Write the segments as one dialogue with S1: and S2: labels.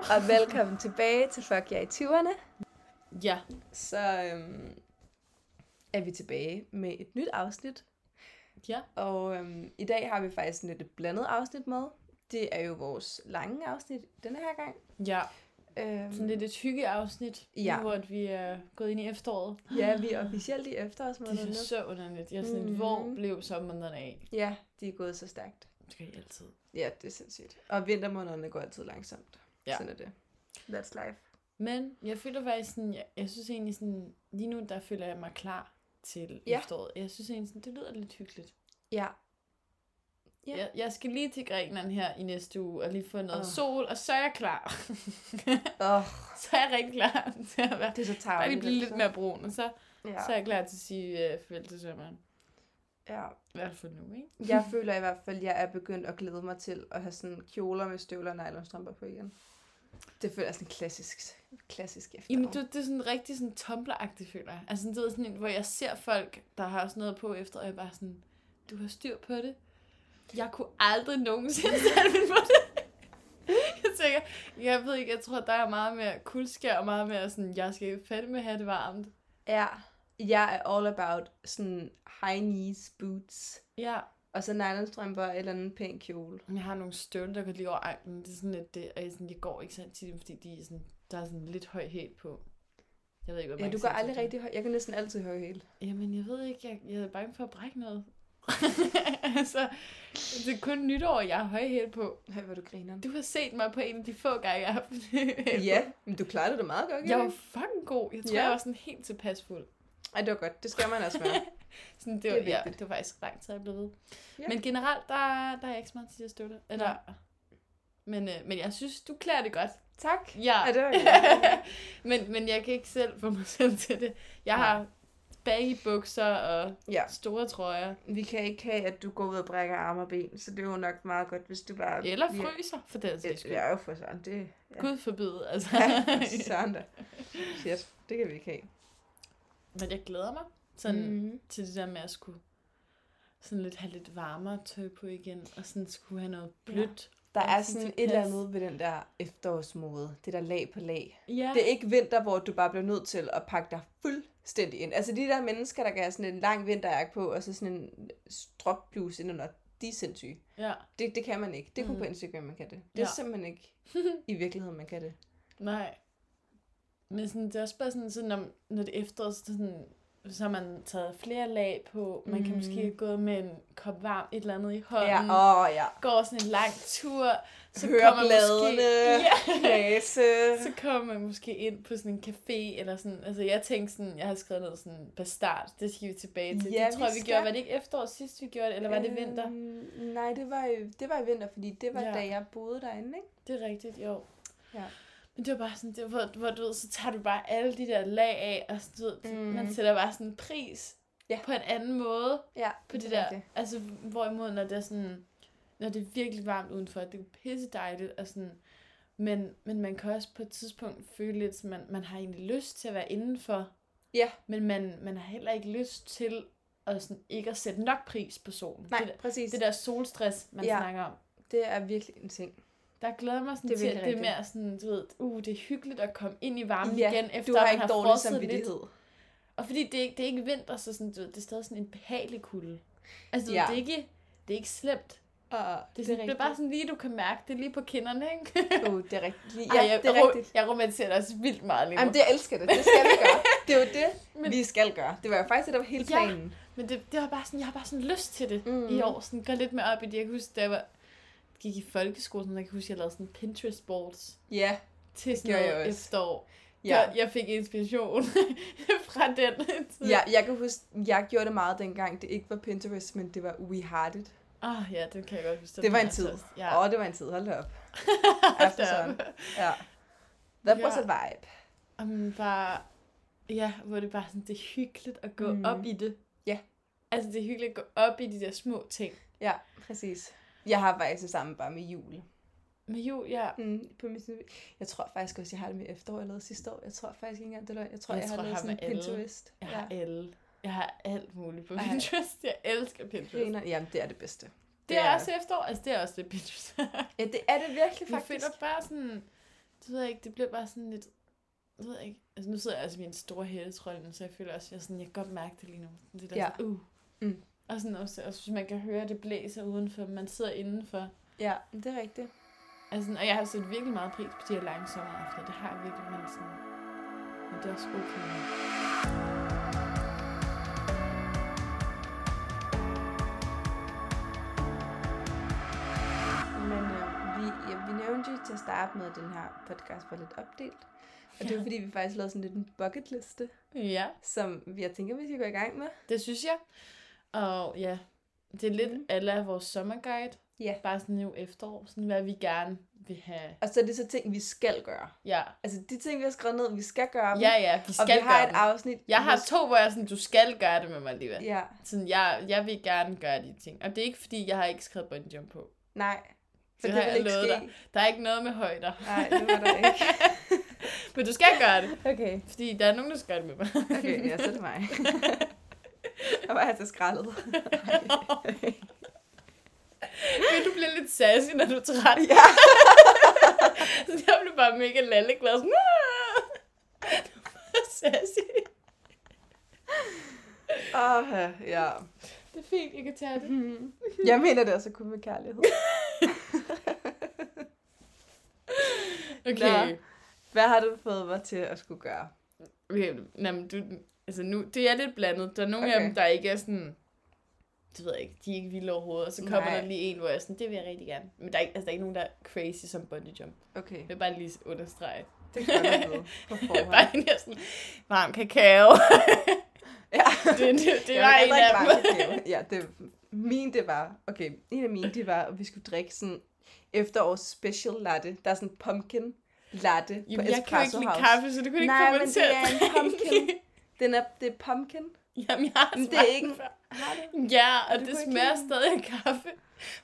S1: og velkommen tilbage til Fuck jer i 20'erne.
S2: Ja,
S1: Så øhm, er vi tilbage med et nyt afsnit,
S2: ja.
S1: og øhm, i dag har vi faktisk sådan lidt et blandet afsnit med. Det er jo vores lange afsnit denne her gang.
S2: Ja,
S1: Øhm,
S2: sådan lidt et hyggeafsnit,
S1: Ja.
S2: nu, hvor at vi er gået ind i efteråret.
S1: Ja, vi er officielt i
S2: Det
S1: efterårsmåneden
S2: er
S1: nu.
S2: så underligt. Jeg er sådan,
S1: Mhm.
S2: mm. hvor blev sommeren af?
S1: Ja, de er gået så stærkt.
S2: Det skal I altid.
S1: Ja, det er sindssygt. Og vintermånederne går altid langsomt.
S2: Ja.
S1: Sådan er det. That's life.
S2: Men jeg føler faktisk sådan, jeg, jeg synes egentlig sådan, lige nu der føler jeg mig klar til
S1: Ja.
S2: ja. efteråret. Jeg synes egentlig sådan, det lyder lidt hyggeligt.
S1: Ja, Ja.
S2: Ja. Jeg, jeg skal lige til Grækenland her i næste uge og lige få noget
S1: Åh.
S2: oh. sol, og så er jeg klar.
S1: Åh,
S2: så er jeg rigtig klar til at være.
S1: det er så
S2: Bare
S1: tarveligt.
S2: lige blive lidt
S1: altså.
S2: mere brun, og så, ja.
S1: Ja.
S2: så er jeg klar til at sige øh, farvel til sommeren.
S1: ja.
S2: I hvert fald nu, ikke?
S1: Jeg føler i hvert fald, at jeg er begyndt at glæde mig til at have sådan kjoler med støvler og nylonstrømper på igen. Det føler jeg sådan klassisk, klassisk efter.
S2: Jamen, du, det er sådan rigtig sådan tumbleragtigt, føler jeg. Altså, sådan, du ved, sådan en, hvor jeg ser folk, der har sådan noget på efter, og jeg er bare sådan, du har styr på det. Jeg kunne aldrig nogensinde sætte mig på det. Jeg tænker, jeg ved ikke, jeg tror, der er meget mere kuldskær, og meget mere sådan, jeg skal fandme have det varmt.
S1: Ja. Jeg er all about sådan high knees boots.
S2: Ja,
S1: Og så nylonstrømper eller en pæn kjole.
S2: men jeg har nogle støvler, der går lige over anklen. Det er sådan lidt det, og jeg, sådan, jeg går ikke så tit, fordi de er sådan, der er sådan lidt høj hæl på. Jeg ved ikke, hvad
S1: Ja,
S2: man
S1: du går
S2: kan sige til
S1: aldrig
S2: det.
S1: rigtig høj. Jeg kan næsten altid høre helt.
S2: Jamen, jeg ved ikke. Jeg, jeg er bange for at brække noget. altså, det er kun nytår, jeg har højhæl på.
S1: Høj, hvor du griner.
S2: Du har set mig på en af de få gange, jeg har haft det.
S1: Ja, men du klarede det meget godt,
S2: Jeg var
S1: ikke?
S2: fucking god. Jeg tror,
S1: Ja.
S2: jeg var sådan helt tilpas fuld.
S1: Ej, det var godt. Det skal man også være.
S2: Sådan,
S1: Det
S2: det,
S1: er
S2: var, det, ja,
S1: vigtigt.
S2: det var faktisk lang tid, jeg blev ved.
S1: Ja.
S2: Men generelt, der, der er jeg ikke så meget til at støtte. Eller, men, øh, men jeg synes, du klæder det godt.
S1: tak.
S2: Ja.
S1: Ja, det var
S2: men, men jeg kan ikke selv få mig selv til det. Jeg
S1: Nej.
S2: har baggy bukser og
S1: Ja.
S2: store trøjer.
S1: Vi kan ikke have, at du går ud og brækker arme og ben, så det er jo nok meget godt, hvis du bare...
S2: Eller
S1: Ja.
S2: fryser, for den sags skyld.
S1: Det er jo for sådan, det... Ja.
S2: Gud forbyde, altså.
S1: Ja, sådan da. Shit, det kan vi ikke have.
S2: Men jeg glæder mig sådan mm.
S1: Mm.
S2: til det der med at skulle sådan lidt have lidt varmere tøj på igen, og sådan skulle have noget blødt.
S1: Der
S2: Jeg
S1: er
S2: synes,
S1: sådan et
S2: det
S1: eller
S2: pas.
S1: andet ved den der efterårsmode. Det der lag på lag.
S2: Ja,
S1: Det er ikke vinter, hvor du bare bliver nødt til at pakke dig fuldstændig ind. Altså de der mennesker, der kan have sådan en lang vinterjakke på, og så sådan en stropbluse indenunder, de er sindssyge.
S2: ja.
S1: Det, det kan man ikke. Det er kun
S2: Mm.
S1: på Instagram, man kan det. Det er
S2: Ja.
S1: simpelthen ikke i virkeligheden, man kan det.
S2: Nej. Men sådan, det er også bare sådan, sådan når, når det er efterår, så, er det sådan, så har man taget flere lag på. Man kan
S1: Mhm.
S2: måske have gået med en kop varm, et eller andet i hånden.
S1: Ja, åh oh, ja.
S2: Går sådan en lang tur. Så
S1: Hører
S2: kommer
S1: bladene.
S2: Måske, ja.
S1: Læse.
S2: så kommer man måske ind på sådan en café, eller sådan, altså jeg tænkte sådan, jeg har skrevet noget sådan, bastard, det skal vi tilbage til.
S1: Ja,
S2: Ja, det tror
S1: vi
S2: jeg, vi
S1: skal.
S2: gjorde, var det ikke efterår sidst, vi gjorde det, eller var det vinter?
S1: Øhm, nej, det var, i- det var i vinter, fordi det var ja.
S2: Ja.
S1: da jeg boede derinde, ikke?
S2: Det er rigtigt, jo.
S1: Ja.
S2: Men det var bare sådan, det var, hvor, hvor du ved, så tager du bare alle de der lag af, og sådan, du ved,
S1: Mm.
S2: mm. man sætter bare sådan en pris
S1: Ja.
S2: på en anden måde,
S1: Ja,
S2: på det,
S1: er
S2: der,
S1: rigtigt.
S2: altså hvorimod, når det er sådan, når det er virkelig varmt udenfor, det er pisse dejligt, og sådan, men, men man kan også på et tidspunkt føle lidt, at man, man har egentlig lyst til at være indenfor,
S1: Ja.
S2: men man, man har heller ikke lyst til at sådan, ikke at sætte nok pris på solen.
S1: Nej,
S2: Det,
S1: det, præcis.
S2: der- det der solstress, man
S1: Ja.
S2: ja. snakker om.
S1: Det er virkelig en ting.
S2: Der glæder mig sådan
S1: Det
S2: det
S1: er
S2: til, at
S1: virkelig
S2: det er mere sådan, du ved, uh, det er hyggeligt at komme ind i varmen
S1: Ja,
S2: igen, efter
S1: Du har
S2: man
S1: ikke
S2: har
S1: dårlig
S2: frosset lidt.
S1: samvittighed.
S2: Og fordi det, er ikke- det er ikke vinter, så sådan, du ved, det er stadig sådan en behagelig kulde. Altså,
S1: Ja.
S2: ja. det, er ikke, det er ikke slemt.
S1: Og
S2: Det er, sådan, det, det er bare sådan lige, du kan mærke det lige på kinderne, ikke?
S1: Oh, det er rigtigt. Lige- Ja,
S2: Ej, jeg,
S1: det er
S2: jeg,
S1: rigtigt.
S2: Jeg romantiserer det også vildt meget lige nu.
S1: Jamen, det jeg elsker det. Det skal vi gøre. Det er jo det,
S2: Men-
S1: vi skal gøre. Det var jo faktisk det, der var hele
S2: Ja.
S1: planen.
S2: Men det, det var bare sådan, jeg har bare sådan lyst til det
S1: Mm.
S2: mm. i år. Sådan, gå lidt mere op i det. Jeg kan huske, da jeg var, gik i folkeskolen, der kan jeg huske, jeg lavede sådan pinterest boards
S1: Ja.
S2: til sådan
S1: gjorde jeg
S2: noget
S1: også.
S2: efterår.
S1: Ja.
S2: Jeg, jeg fik inspiration fra den.
S1: ja, jeg kan huske, jeg gjorde det meget dengang. Det ikke var Pinterest, men det var We Heart It.
S2: Åh, oh, ja, den kan jeg godt huske. Den
S1: Det var
S2: har
S1: en
S2: jeg
S1: tid.
S2: også.
S1: Åh,
S2: Ja.
S1: oh, det var en tid. Hold da op. Efter sådan. Ja. That was a vibe.
S2: Og man bare, ja, hvor det bare sådan, det er hyggeligt at gå
S1: Mm.
S2: mm. op i det.
S1: Ja.
S2: Altså, det er hyggeligt at gå op i de der små ting.
S1: Ja, præcis. Jeg har faktisk det samme bare med jul.
S2: Men jo, ja.
S1: Mm, på min CV. Jeg tror faktisk også, jeg har det med efterår, jeg lavede sidste år. Jeg tror faktisk ikke engang, det er løgn. Jeg tror, jeg,
S2: Jeg
S1: jeg
S2: tror,
S1: har
S2: jeg
S1: lavet
S2: har
S1: sådan en
S2: med alle.
S1: Pinterest.
S2: Jeg har
S1: ja.
S2: alle. Jeg har alt muligt på
S1: Ej.
S2: Pinterest. Jeg elsker Pinterest.
S1: Griner. Jamen, det er det bedste.
S2: Det er også efterår. Altså, det er også det Pinterest.
S1: Ja, det er det virkelig,
S2: Jeg
S1: faktisk.
S2: finder bare sådan... Det ved jeg ikke, det bliver bare sådan lidt... Det ved jeg ikke. Altså, nu sidder jeg altså i min store hættetrøje, nu, så jeg føler også, at jeg, sådan, jeg kan godt mærke det lige nu. Det der
S1: Ja.
S2: sådan, uh.
S1: Mm.
S2: Og sådan også, også, hvis man kan høre, at det blæser udenfor, men man sidder indenfor.
S1: Ja, det er rigtigt.
S2: Altså, sådan- og jeg har sat virkelig meget pris på de her lange sommeraftener. Det har jeg virkelig, men sådan... Men det er også okay.
S1: Men øh, vi, ja, vi nævnte jo til at starte med, at den her podcast var lidt opdelt. Og det var fordi, vi faktisk lavede sådan lidt en bucket liste,
S2: Ja,
S1: som vi- jeg tænker, vi skal gå i gang med.
S2: det synes jeg. Og ja, det er lidt
S1: Mm.
S2: alle vores sommerguide.
S1: Ja.
S2: Bare sådan nu efterår, sådan hvad vi gerne vil have.
S1: Og så er det så ting, vi skal gøre.
S2: Ja,
S1: Altså de ting, vi har skrevet ned, vi skal gøre dem.
S2: ja, ja vi
S1: og
S2: skal
S1: vi har
S2: gøre
S1: et
S2: det.
S1: afsnit.
S2: Jeg har
S1: hvor-
S2: to, hvor jeg er sådan, du skal gøre det med mig alligevel.
S1: Ja,
S2: Sådan, jeg, jeg vil gerne gøre de ting. Og det er ikke, fordi jeg har ikke skrevet bungee jump på.
S1: nej. For
S2: Det
S1: det,
S2: har
S1: vil
S2: jeg
S1: ikke
S2: lovet
S1: ske.
S2: dig. Der er ikke noget med højder.
S1: Nej, det var der ikke.
S2: Men du skal gøre det,
S1: Okay.
S2: fordi der er nogen, der skal gøre det med mig.
S1: Okay, ja, så er det mig. Jeg var altså skrællet.
S2: Men du bliver lidt sassy, når du er træt.
S1: Ja.
S2: Så jeg blev bare mega lalleglad. Sådan, "Ah!" Du er bare sassy.
S1: Åh, Ah, ja.
S2: Det er fint, jeg kan tage det.
S1: Jeg mener det altså kun med kærlighed.
S2: Okay.
S1: Nå. Hvad har du fået mig til at skulle gøre?
S2: Okay, nej, men du, altså nu, det er lidt blandet. Der er nogle okay. af
S1: Okay.
S2: dem, der ikke er sådan, det ved jeg ikke, de er ikke vilde overhovedet. Og så kommer
S1: Nej.
S2: der lige en, hvor jeg er sådan, det vil jeg rigtig gerne. Men der er, ikke, altså, der er ikke nogen, der er crazy som bungee jump.
S1: Okay,
S2: Jeg vil bare lige understrege.
S1: det kan jeg vide på forhånd.
S2: bare en, der er sådan, varm kakao.
S1: Ja.
S2: det, det, det
S1: Jeg
S2: var
S1: vil
S2: en
S1: drikke
S2: af
S1: varm kakao.
S2: dem.
S1: Ja, det, min det var, okay, en af mine det var, at vi skulle drikke sådan efterårs special latte. Der er sådan en pumpkin latte på
S2: Jamen, jeg kan jo
S1: Espresso
S2: ikke lide
S1: House.
S2: kaffe, så det kunne
S1: Nej,
S2: ikke få
S1: men
S2: mig
S1: det
S2: til. at
S1: er en
S2: drikke.
S1: pumpkin. Den er, det er pumpkin.
S2: Jamen, jeg har
S1: Men det er
S2: smagt
S1: ikke-
S2: den før.
S1: Har du?
S2: Ja, og
S1: Du
S2: det,
S1: kunne ikke
S2: smager
S1: lide den.
S2: stadig af kaffe.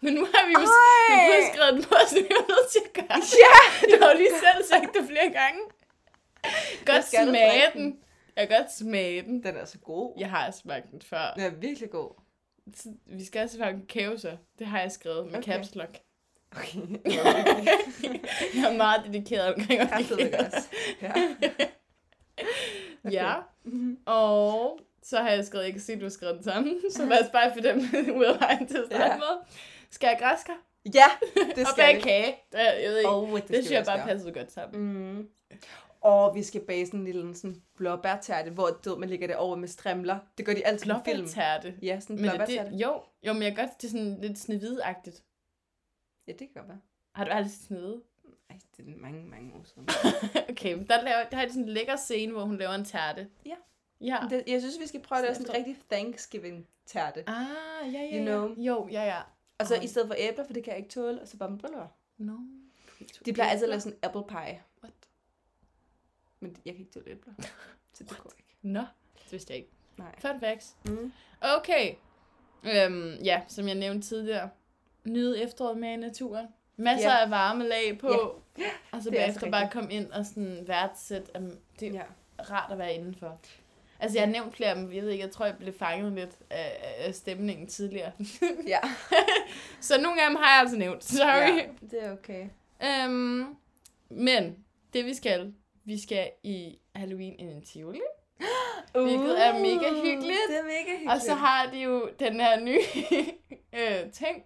S2: Men nu har vi jo
S1: Ej!
S2: Men du har skrevet den på, så vi var nødt til at gøre det.
S1: Ja!
S2: Du har jo lige selv sagt det flere gange. Godt
S1: skal du
S2: smage
S1: drikke
S2: den. Jeg kan godt smage den.
S1: Den er så god.
S2: Jeg har smagt den før.
S1: Den er virkelig god.
S2: Så Vi skal også smage en kakao, så. Det har jeg skrevet med
S1: Okay.
S2: okay. caps lock.
S1: Okay.
S2: Jeg er meget dedikeret omkring at
S1: Kræftet
S2: blive
S1: ikke
S2: kakao.
S1: også. Ja.
S2: Ja.
S1: Mm-hmm.
S2: Og så har jeg skrevet, jeg kan se, at du har skrevet den samme. Så lad os bare få dem ud af vejen til at starte
S1: Ja.
S2: med. Skal jeg græsker?
S1: ja, det
S2: Og
S1: skal
S2: bage
S1: vi.
S2: kage. Det, jeg ved ikke.
S1: Oh, det,
S2: det synes jeg bare
S1: passer.
S2: passede godt sammen.
S1: Mm. Og vi skal bage sådan en lille sådan blåbærtærte, hvor du ved, man lægger det over med strimler. Det gør de altid i film. Mm,
S2: Blåbærtærte.
S1: Ja, sådan en
S2: Men er
S1: blåbærtærte.
S2: det, jo, jo, men jeg kan godt, det er sådan lidt snevidagtigt.
S1: Ja, det kan godt være.
S2: Har du aldrig set snevide?
S1: Ej, det er mange, mange år siden.
S2: okay, men der, laver, der har de sådan en lækker scene, hvor hun laver en tærte.
S1: Ja.
S2: Ja.
S1: Det, jeg synes, vi skal prøve at lave
S2: Sådan
S1: sådan en rigtig Thanksgiving-tærte.
S2: Ah, ja, ja,
S1: You
S2: ja.
S1: know.
S2: Jo, ja, ja.
S1: Og så
S2: Ej.
S1: i stedet for æbler, for det kan jeg ikke tåle, og så bare med briller.
S2: No.
S1: De plejer altid at lave sådan en apple pie,
S2: What?
S1: men jeg kan ikke tåle æbler. Så det går ikke.
S2: Nå, det vidste jeg ikke.
S1: Nej.
S2: Fun facts.
S1: Mm.
S2: Okay. Øhm, ja, som jeg nævnte tidligere. Nyde efteråret mere i naturen. Masser
S1: Ja.
S2: af varme lag på.
S1: Ja.
S2: Og så
S1: Det er
S2: bagefter
S1: også
S2: bare
S1: rigtigt.
S2: komme ind og sådan værdsætte, at det,
S1: Ja.
S2: rart at være indenfor. Altså, jeg har nævnt flere, men jeg ved ikke, jeg tror, jeg blev fanget lidt af, af- af stemningen tidligere.
S1: ja.
S2: så nogle af dem har jeg altså nævnt, sorry.
S1: Ja, det er okay.
S2: Ja. Øhm, men det vi skal, vi skal i Halloween ind i Tivoli.
S1: Uh,
S2: Hvilket er mega hyggeligt.
S1: Det er mega hyggeligt.
S2: Og så har de jo den her nye øh, ting,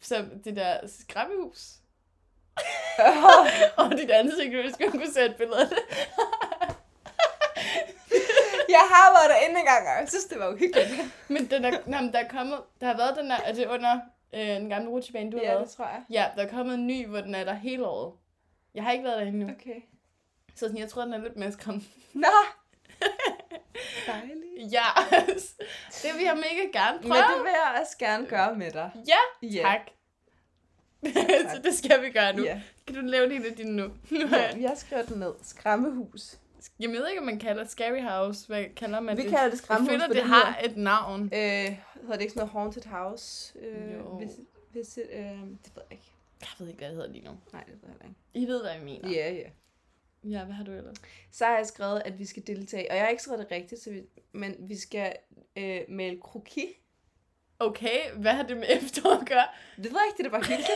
S2: som det der skræmmehus. Og dit ansigt, hvis man kunne sætte billeder af det.
S1: jeg har været derinde engang, og jeg synes, det var uhyggeligt.
S2: Men den er, nej, men der er kommet, der har været den her, er det under øh, den gamle rutsjebane, du har
S1: ja,
S2: været?
S1: det tror jeg.
S2: Ja, der er kommet en ny, hvor den er der hele året. Jeg har ikke været der endnu.
S1: Okay.
S2: Så sådan, jeg tror, den er lidt mere skræmmende.
S1: Nå! Dejligt.
S2: Ja, det vil jeg mega gerne
S1: Men
S2: prøve.
S1: det vil jeg også gerne gøre med dig.
S2: Ja,
S1: Ja.
S2: tak. så det skal vi gøre nu.
S1: Ja.
S2: Kan du lave det af din nu? nu har
S1: Ja,
S2: jeg-
S1: jeg skriver den ned. Skræmmehus.
S2: jeg ved ikke, om man kalder det Scary House. Hvad kalder man
S1: Vi
S2: det?
S1: kalder det
S2: jeg
S1: skræmmehus,
S2: føler,
S1: for
S2: det
S1: hedder-
S2: har et navn.
S1: Øh, hedder det ikke sådan noget haunted house? Øh,
S2: Jo.
S1: Hvis, hvis, øh, det ved jeg ikke.
S2: Jeg ved ikke, hvad det hedder lige nu.
S1: Nej, det ved jeg heller ikke.
S2: I ved, hvad jeg mener.
S1: Ja, ja.
S2: Ja, hvad har du ellers?
S1: Så har jeg skrevet, at vi skal deltage, og jeg har ikke skrevet det rigtigt, så vi, men vi skal øh, male kroki
S2: okay, hvad har det med efterår at gøre?
S1: Det ved jeg ikke, det er bare hyggeligt.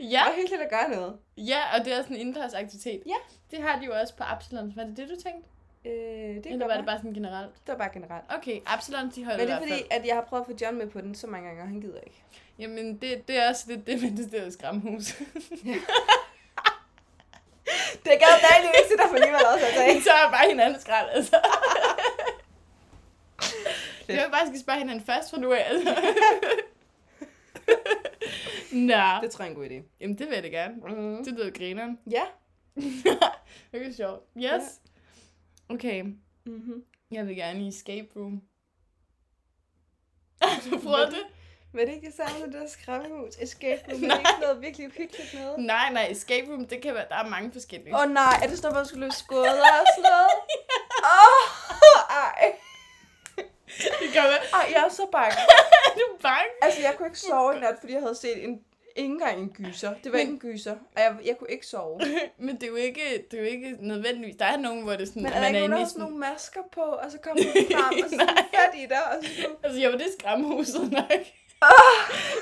S2: Ja,
S1: ja. Bare hyggeligt at gøre noget.
S2: ja, og det er også en indendørs aktivitet.
S1: Ja.
S2: Det har de jo også på Absalon. Var det det, du tænkte?
S1: Øh, det, kan
S2: Eller
S1: godt
S2: var det
S1: være.
S2: bare sådan generelt?
S1: det var bare generelt.
S2: Okay, Absalon, de holder
S1: Men det
S2: i
S1: er
S2: hvert
S1: fordi,
S2: fald.
S1: at jeg har prøvet at få John med på den så mange gange, og han gider ikke.
S2: Jamen, det, det er også lidt det med det der skræmhus.
S1: Det gav dejligt, hvis det der for alligevel også altså, ikke?
S2: så er bare hinanden skrald, altså. Det var bare, at skal spørge hinanden først fra nu af, altså. Nå.
S1: Det tror jeg er en god idé.
S2: Jamen, det vil jeg da gerne.
S1: Mm.
S2: Det lyder grineren.
S1: Ja.
S2: det er sjovt. Yes. Okay.
S1: Mm-hmm.
S2: Jeg vil gerne i escape room. Har du prøvet det?
S1: Men er det ikke det samme med det der skræmmehus? Escape room, men
S2: Nej.
S1: ikke noget virkelig hyggeligt noget?
S2: Nej, nej, escape room, det kan være, der er mange forskellige.
S1: Åh oh, nej, er det sådan noget, hvor du skulle løse skåder og sådan noget? Åh, oh, ej.
S2: Det kan være,
S1: Ej, jeg er så bange.
S2: er du bange?
S1: Altså, jeg kunne ikke sove i nat, fordi jeg havde set en, ikke engang en gyser. Det var ikke en gyser, og jeg, jeg kunne ikke sove.
S2: Men det er jo ikke, det er jo ikke nødvendigvis. Der er nogen, hvor det er sådan,
S1: Men er der ikke nogen, der
S2: inde i
S1: har sådan nogle masker på, og så kommer de frem, og så
S2: Nej.
S1: sådan fat i dig, og så sådan,
S2: Altså, jo, det er skræmhuset nok.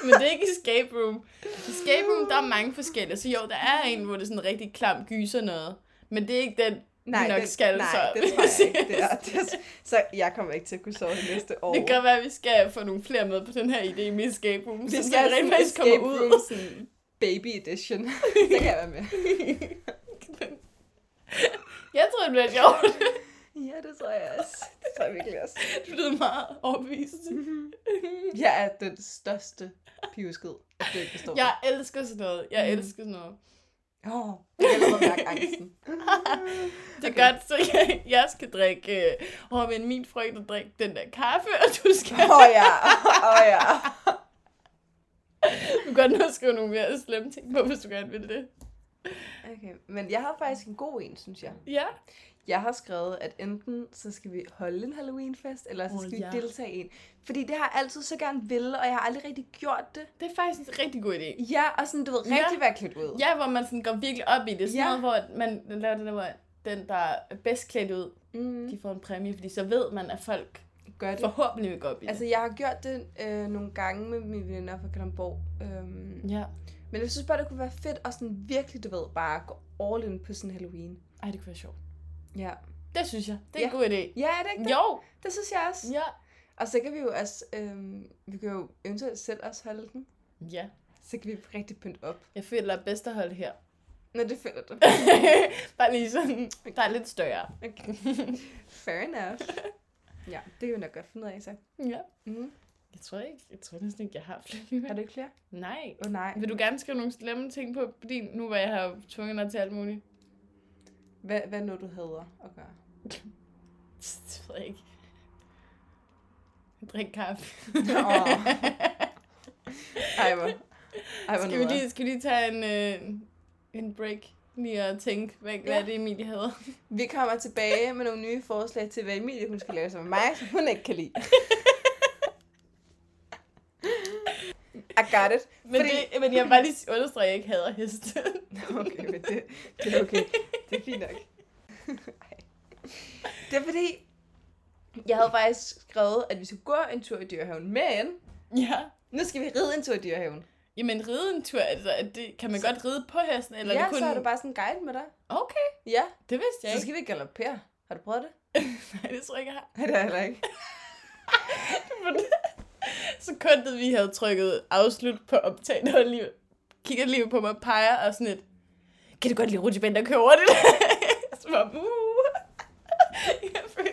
S2: Men det er ikke escape room. Escape room, der er mange forskellige. Så jo, der er en, hvor det er sådan en rigtig klam gyser noget. Men det er ikke den,
S1: nej,
S2: vi nok
S1: det,
S2: skal
S1: nej,
S2: så.
S1: det tror jeg ikke, det er. Det er s- så jeg kommer ikke til at kunne sove det næste år.
S2: Det kan godt være, at vi skal få nogle flere med på den her idé med escape room.
S1: Vi
S2: så
S1: skal
S2: vi rent faktisk komme
S1: escape
S2: ud.
S1: room, sådan baby edition. det kan jeg være med.
S2: Jeg tror, det bliver sjovt.
S1: Ja, det tror jeg også. Det tror jeg virkelig også.
S2: Du lyder meget overbevist.
S1: Jeg er den største piveskid, at du ikke forstår.
S2: Jeg elsker sådan noget. Jeg elsker sådan noget.
S1: Åh, jeg kan allerede mærke angsten.
S2: Det er okay. godt, så jeg, jeg skal drikke... Øh, og men min frygt at drikke den der kaffe, og du skal...
S1: Åh oh, ja, åh oh, ja.
S2: Du kan godt nå at skrive nogle mere slemme ting på, hvis du gerne vil det.
S1: Okay, men jeg har faktisk en god en, synes jeg.
S2: Ja.
S1: Jeg har skrevet, at enten så skal vi holde en Halloweenfest, eller så
S2: Åh,
S1: skal
S2: ja.
S1: vi deltage i en. Fordi det har jeg altid så gerne ville, og jeg har aldrig rigtig gjort det.
S2: Det er faktisk en rigtig god idé.
S1: Ja, og sådan, du ved,
S2: Ja.
S1: rigtig ja. være klædt ud.
S2: Ja, hvor man sådan går virkelig op i det. Sådan
S1: Ja.
S2: noget, hvor man laver den der, hvor den, der er bedst klædt ud,
S1: Mm,
S2: de får en præmie. Fordi så ved man, at folk
S1: gør det.
S2: forhåbentlig vil gå op i det.
S1: Altså, jeg har gjort det øh, nogle gange med mine venner fra Kalamborg. Øhm,
S2: ja.
S1: Men jeg synes bare, det kunne være fedt at sådan virkelig, du ved, bare gå all in på sådan Halloween.
S2: Ej, det kunne være sjovt.
S1: Ja.
S2: Det synes jeg. Det er en
S1: Ja.
S2: god idé.
S1: Ja, er det ikke det?
S2: Jo.
S1: Det synes jeg også.
S2: Ja.
S1: Og så kan vi jo også, øhm, vi kan jo eventuelt selv også holde den.
S2: Ja.
S1: Så kan vi rigtig pynte op.
S2: Jeg føler, at bedst at holde her.
S1: Nå, det føler du.
S2: Bare lige sådan, der er lidt større.
S1: Okay. Fair enough. Ja, det kan vi nok godt finde ud af, så.
S2: Ja.
S1: Mm.
S2: Jeg tror ikke, jeg tror næsten ikke, jeg har flere.
S1: Har du ikke flere?
S2: Nej.
S1: Åh oh, nej.
S2: Vil du gerne skrive nogle slemme ting på din, nu hvor jeg har tvunget dig til alt muligt?
S1: Hvad, hvad nu du hader at gøre?
S2: Det ved jeg ikke. Drik kaffe.
S1: Åh. Ej, hvor. Ej, hvor
S2: skal, vi
S1: lige...
S2: lige, skal vi lige tage en, øh, en break? Lige at tænke, hvad, ja. hvad er det Emilie havde?
S1: Vi kommer tilbage med nogle nye forslag til, hvad Emilie hun skal lave som mig, som hun ikke kan lide. I got it.
S2: Men, Fordi... det, men jeg vil bare lige understrege, at jeg ikke hader heste.
S1: Okay, men det, det er okay. Det er fint nok. Ej. Det er fordi, jeg havde faktisk skrevet, at vi skulle gå en tur i dyrehaven, men
S2: ja.
S1: nu skal vi ride en tur i dyrehaven.
S2: Jamen ride en tur, altså, er det, kan man
S1: Så-
S2: så... godt ride på hesten? Eller
S1: Eller ja,
S2: er det kun...
S1: så har du bare sådan en guide med dig.
S2: Okay,
S1: Ja,
S2: det vidste jeg
S1: så
S2: ikke.
S1: skal vi galopere. Har du prøvet det?
S2: Nej, det tror jeg ikke, jeg har.
S1: Nej, det har jeg heller ikke.
S2: Sekundet, vi havde trykket afslut på optag, der lige, kigger lige på mig og peger og sådan et, kan du godt lide rutsjeband, der kører over det? Så var uh. jeg, føler,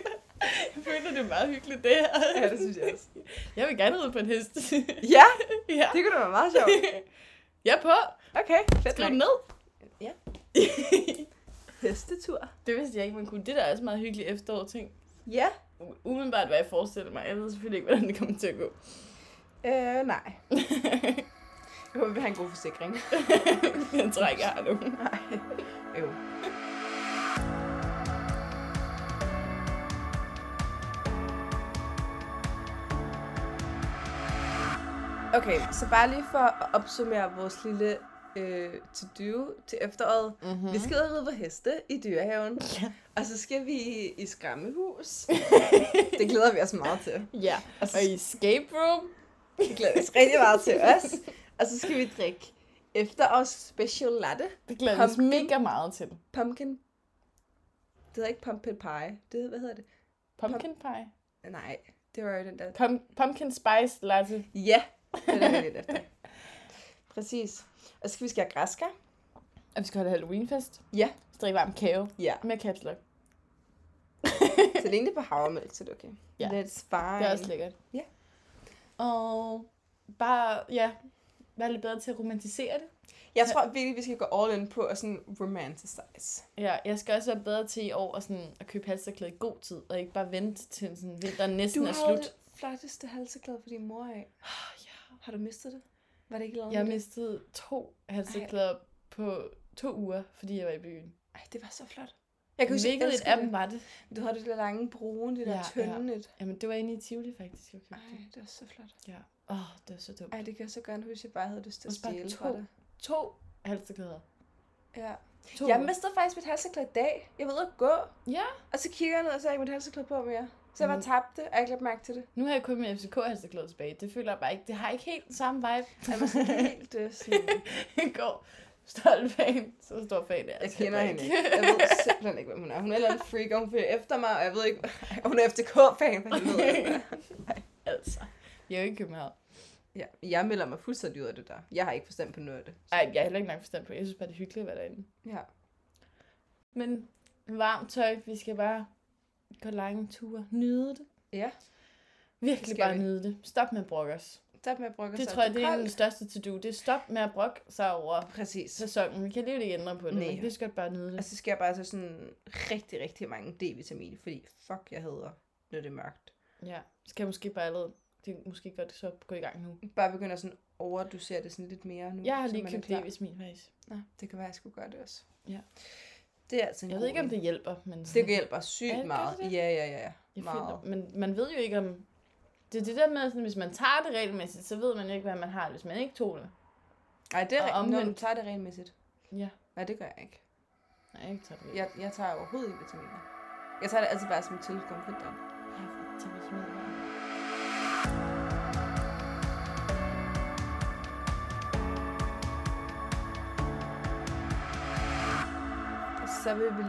S2: jeg føler, det er meget hyggeligt, det her.
S1: Ja, det synes jeg også.
S2: Jeg vil gerne ride på en hest.
S1: Ja,
S2: ja.
S1: det kunne da være meget sjovt.
S2: Jeg er på.
S1: Okay, fedt
S2: Skriv
S1: nok.
S2: den ned.
S1: Ja. Hestetur.
S2: det vidste jeg ikke, man kunne. Det der er også meget hyggeligt efterår ting.
S1: Ja.
S2: Umiddelbart, hvad jeg forestiller mig. Jeg ved selvfølgelig ikke, hvordan det kommer til at gå.
S1: Øh, nej. Jeg håber, vi har en god forsikring.
S2: jeg tror ikke, jeg har nogen.
S1: Jo. Okay, så bare lige for at opsummere vores lille øh, to-do til efteråret.
S2: Mm-hmm.
S1: Vi skal ud og ride på heste i dyrehaven,
S2: Ja.
S1: og så skal vi i skræmmehus. det glæder vi os meget til.
S2: Ja,
S1: Og så,
S2: og i escape room.
S1: Vi glæder os rigtig meget til os. Og så skal vi drikke efterårs special latte.
S2: Det glæder jeg
S1: Pumpkin.
S2: mig mega meget til.
S1: Pumpkin. Det hedder ikke pumpkin pie. Det hedder, hvad hedder det?
S2: Pumpkin pie.
S1: Nej, det var jo den der.
S2: Pum pumpkin spice latte.
S1: Ja, det er det lidt efter. Præcis. Og så skal vi skære græskar.
S2: Og vi skal holde Halloweenfest.
S1: Ja.
S2: Så drikke varm kage.
S1: Ja.
S2: Med caps lock.
S1: Så længe det er på havremælk, så er det okay.
S2: Ja.
S1: That's fine.
S2: Det er også lækkert.
S1: Ja.
S2: Og bare, ja, være lidt bedre til at romantisere det.
S1: Jeg tror virkelig, vi skal gå all in på at sådan romanticize.
S2: Ja, jeg skal også være bedre til i år at, sådan, at købe halsterklæde i god tid, og ikke bare vente til sådan, vinteren næsten er slut. Ah,
S1: det flotteste halseklæde for din mor af.
S2: Ja.
S1: Har du mistet det? Var det ikke lavet
S2: Jeg mistede to halsterklæder på to uger, fordi jeg var i byen.
S1: Ej, det var så flot. Jeg huske,
S2: Hvilket et
S1: elskede
S2: af dem var det?
S1: det. Du havde det der lange brune, det der
S2: Ja,
S1: ja,
S2: ja.
S1: tynde. Ja.
S2: Jamen, det var inde i Tivoli faktisk, jeg købte
S1: Ej,
S2: det.
S1: det var så flot.
S2: Ja. Åh, oh, det var så dumt.
S1: Ej, det kan jeg så gerne huske, at jeg bare havde lyst til at
S2: Også bare
S1: stjæle
S2: to.
S1: fra dig.
S2: To halsterklæder.
S1: Ja.
S2: To
S1: Jeg
S2: uger.
S1: mistede faktisk mit halseklæde i dag. Jeg var ude at gå,
S2: Ja. Mm.
S1: og så kigger jeg ned, og så har jeg ikke mit halseklæde på mere. Så jeg bare tabte, og jeg glemte mærke til det.
S2: Nu har jeg kun min FCK halsterklæde tilbage. Det føler jeg bare ikke. Det har ikke helt samme vibe.
S1: Jeg var sådan helt øh, sådan...
S2: Jeg går stolt fan. Så stor fan er
S1: Jeg
S2: altså
S1: kender
S2: heller
S1: hende ikke. Jeg ved simpelthen ikke, hvem hun er. Hun er en eller anden freak, og hun følger efter mig, og jeg ved ikke... Hun er FCK-fan, for helvede.
S2: altså. Jeg er jo ikke i København.
S1: Ja, jeg melder mig fuldstændig ud af det der. Jeg har ikke forstand på noget af det.
S2: Ej, jeg er heller ikke nok forstand på. det. Jeg synes bare, det er hyggeligt at være derinde.
S1: Ja.
S2: Men varmt tøj, vi skal bare gå lange ture. Nyde det.
S1: Ja. Det
S2: Virkelig
S1: skal
S2: bare
S1: vi.
S2: nyde det. Stop med at brokke os.
S1: Stop med at brokke
S2: Det
S1: sig.
S2: tror jeg, det er en af de
S1: koldt.
S2: største to-do. Det er stop med at brokke sig over
S1: Præcis.
S2: sæsonen. Vi kan alligevel ikke ændre på det,
S1: Nej.
S2: men det skal bare nyde
S1: Og
S2: det.
S1: så skal jeg bare så sådan rigtig, rigtig mange D-vitamin, fordi fuck, jeg hader, når det er mørkt.
S2: Ja. Skal jeg måske bare allerede... Det er måske godt så at gå i gang nu.
S1: Bare begynder sådan at overdosere det sådan lidt mere nu.
S2: Jeg har
S1: Mm, så
S2: lige
S1: man er
S2: købt
S1: klar.
S2: D-vitamin faktisk.
S1: Nå, det kan være, jeg skulle gøre det også.
S2: Ja.
S1: Det er altså en
S2: Jeg
S1: god
S2: ved ikke, om
S1: idé.
S2: det hjælper, men...
S1: det hjælper
S2: Ja,
S1: sygt
S2: gør det
S1: meget.
S2: det?
S1: Ja, ja, ja, ja.
S2: Jeg
S1: Meget.
S2: føler, men man ved jo ikke om... Det er det der med, at hvis man tager det regelmæssigt, så ved man jo ikke, hvad man har, hvis man ikke tog det.
S1: Nej, det er
S2: Og
S1: rigtigt. Når du
S2: omvendt.
S1: tager det regelmæssigt.
S2: Ja.
S1: Nej, det gør jeg ikke.
S2: Nej, jeg ikke tager det.
S1: Jeg, jeg tager overhovedet ikke vitaminer. Jeg tager det altid bare som tilskud på den.
S2: Jeg tager det simpelthen ikke.
S1: Og så vil vi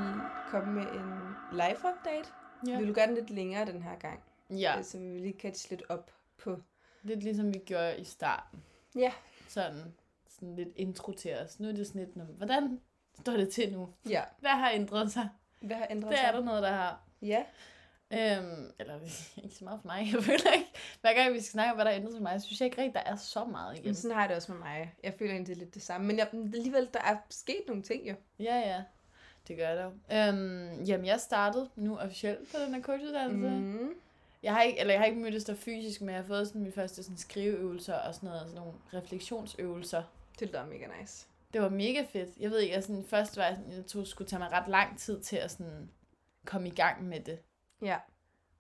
S1: komme med en live update. Ja. Vi
S2: Ja.
S1: vil gøre den lidt længere den her gang.
S2: ja,
S1: Ja. Så vi vil lige catch lidt op på...
S2: lidt ligesom vi gjorde i starten.
S1: Ja.
S2: Sådan, sådan lidt intro til os. Nu er det sådan lidt, "Nå, hvordan står det til nu?
S1: Ja.
S2: Hvad har ændret sig?
S1: Hvad har ændret
S2: Det
S1: sig?
S2: er der noget, der har.
S1: Ja.
S2: Øhm, eller ikke så meget for mig, jeg føler ikke. Hver gang vi skal snakke om, hvad der er ændret sig for mig, synes jeg ikke rigtig, der er så meget igen.
S1: Men sådan har jeg det også med mig. Jeg føler egentlig det er lidt det samme. Men jeg, men alligevel, der er sket nogle ting jo.
S2: Ja, ja. Det gør jeg dog. Øhm, jamen, jeg startede nu officielt på den her coachuddannelse. Mm.
S1: Mm.
S2: Jeg har ikke, eller jeg har ikke mødtes der fysisk, men jeg har fået sådan mine første sådan skriveøvelser og sådan noget, sådan nogle refleksionsøvelser.
S1: Det lyder mega nice.
S2: Det var mega fedt. Jeg ved ikke, jeg sådan, først var jeg sådan, jeg tog, skulle tage mig ret lang tid til at sådan komme i gang med det.
S1: Ja.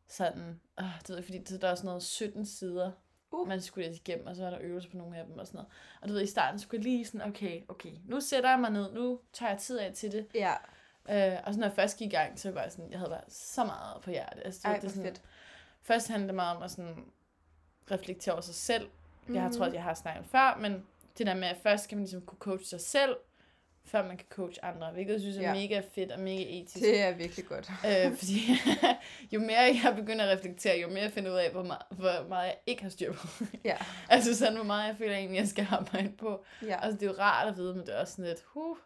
S2: Sådan, øh, det ved jeg, fordi det- der er sådan noget 17 sider,
S1: Uh.
S2: uh. man skulle læse igennem, og så var der øvelser på nogle af dem og sådan noget. Og du ved, i starten skulle jeg lige sådan, okay, okay, nu sætter jeg mig ned, nu tager jeg tid af til det.
S1: Ja.
S2: Øh, og så når jeg først gik i gang, så var jeg sådan, jeg havde bare så meget på hjertet. Altså, du
S1: Ej,
S2: ved, det
S1: hvor
S2: er sådan,
S1: fedt.
S2: Først handlede det meget om at sådan reflektere over sig selv. Mm. Jeg har
S1: Mhm.
S2: troet, jeg har snakket om før, men det der med, at først skal man ligesom kunne coache sig selv, før man kan coache andre, hvilket jeg synes er
S1: Ja.
S2: ja. mega fedt og mega etisk.
S1: Mhm. Det er virkelig godt.
S2: Øh, fordi jo mere jeg begynder at reflektere, jo mere jeg finder ud af, hvor meget, hvor meget jeg ikke har styr på.
S1: Ja.
S2: altså sådan, hvor meget jeg føler egentlig, jeg skal arbejde på.
S1: Ja.
S2: Altså det er jo rart at vide, men det er også sådan lidt, huh,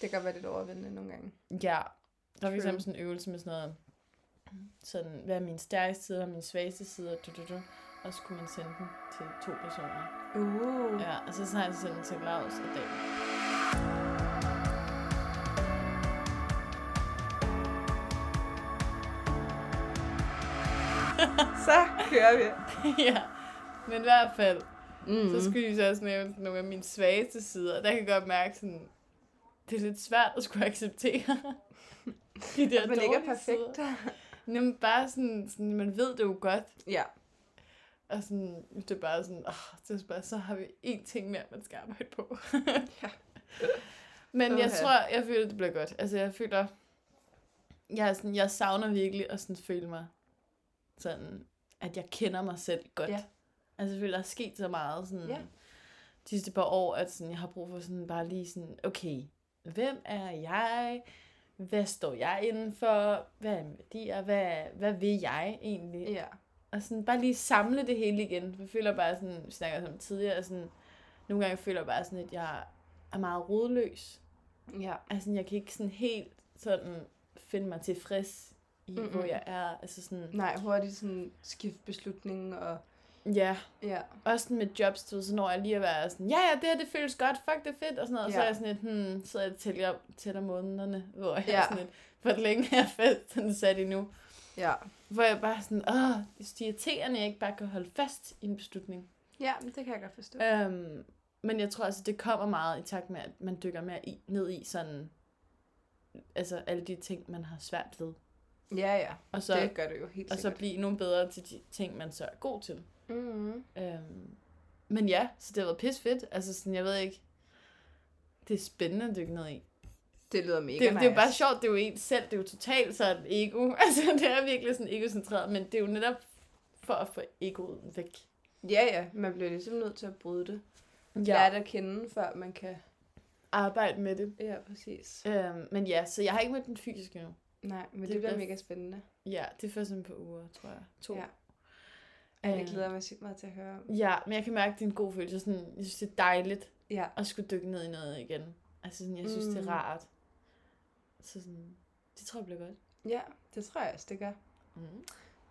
S1: Det kan godt være lidt overvældende nogle gange.
S2: Ja, der er for
S1: True.
S2: eksempel sådan en øvelse med sådan noget, sådan, hvad er min stærkeste side og min svageste side, du, du, du. og så kunne man sende den til to personer.
S1: Uh. Ja.
S2: Ja, og så har jeg sendt den til Claus og Daniel.
S1: Så kører vi.
S2: ja, men i hvert fald,
S1: Mm.
S2: så skulle jeg så også nævne sådan nogle af mine svageste sider, og der kan jeg godt mærke sådan, det er lidt svært at skulle acceptere. De der
S1: at man ikke er
S2: dårlige
S1: perfekt.
S2: Sider. Jamen bare sådan, sådan, man ved det jo godt,
S1: Ja.
S2: Og sådan, det er bare sådan, åh, det er bare, så har vi én ting mere, man skal arbejde på.
S1: Ja.
S2: Men jeg
S1: Uha.
S2: tror, jeg føler, det bliver godt. Altså, jeg føler, jeg, er sådan, jeg savner virkelig at sådan føle mig sådan, at jeg kender mig selv godt.
S1: Ja.
S2: Altså selvfølgelig, der er sket så meget sådan,
S1: Ja.
S2: de sidste par år, at sådan, jeg har brug for sådan bare lige sådan, okay, hvem er jeg? Hvad står jeg inden for? Hvad er mine værdier? Hvad, hvad vil jeg egentlig?
S1: Ja.
S2: Og sådan bare lige samle det hele igen. For jeg føler bare sådan, vi snakker om tidligere, sådan, nogle gange føler jeg bare sådan, at jeg er meget rodløs.
S1: Ja.
S2: Altså, jeg kan ikke sådan helt sådan finde mig tilfreds i, mm-hmm.
S1: Mm-mm.
S2: hvor jeg er. Altså sådan,
S1: Nej, hurtigt sådan skifte beslutningen og...
S2: ja,
S1: Ja.
S2: også sådan med jobs, du ved, så når jeg lige at være sådan, ja, ja, det her, det føles godt, fuck, det er fedt, og sådan noget. Og så
S1: Ja.
S2: er jeg sådan lidt, hmm, så jeg tæller, tæller månederne, hvor jeg ja.
S1: Ja.
S2: er sådan lidt, hvor længe er jeg fast sådan sat endnu.
S1: Ja.
S2: Hvor jeg bare sådan, åh, det er så irriterende, jeg ikke bare kan holde fast i en beslutning.
S1: Ja, men det kan jeg godt forstå.
S2: Øhm, men jeg tror altså, det kommer meget i takt med, at man dykker mere i, ned i sådan, altså alle de ting, man har svært ved.
S1: Ja, ja.
S2: Og
S1: Så,
S2: så,
S1: det gør det jo helt
S2: og så
S1: sikkert.
S2: blive endnu bedre til de ting, man så er god til.
S1: mm-hmm.
S2: Øhm, men ja, så det har været pis fedt. Altså sådan, jeg ved ikke, det er spændende at dykke ned i.
S1: Det lyder mega
S2: Det, det,
S1: nice.
S2: er jo bare sjovt, det er jo en selv, det er jo totalt sådan ego. Altså det er virkelig sådan egocentreret, men det er jo netop for at få egoet væk.
S1: Ja, ja. Man bliver ligesom nødt til at bryde det. Ja. Lære det at kende, før man kan...
S2: arbejde med det.
S1: Ja, præcis.
S2: Øhm, men ja, så jeg har ikke mødt den fysiske endnu.
S1: Nej, men det,
S2: Det
S1: det bliver
S2: bliver-
S1: mega spændende.
S2: Ja, det er først om et par uger, tror jeg. To.
S1: Ja. Ej, jeg
S2: Øh,
S1: glæder mig sygt meget til at høre om.
S2: Ja, men jeg kan mærke, at det er en god følelse. Sådan, jeg synes, det er dejligt
S1: Ja.
S2: at skulle dykke ned i noget igen. Altså, sådan, jeg synes, mm. det
S1: Mm.
S2: er rart. Så sådan, det tror jeg bliver godt.
S1: Ja, det tror jeg også, det gør.
S2: Mm.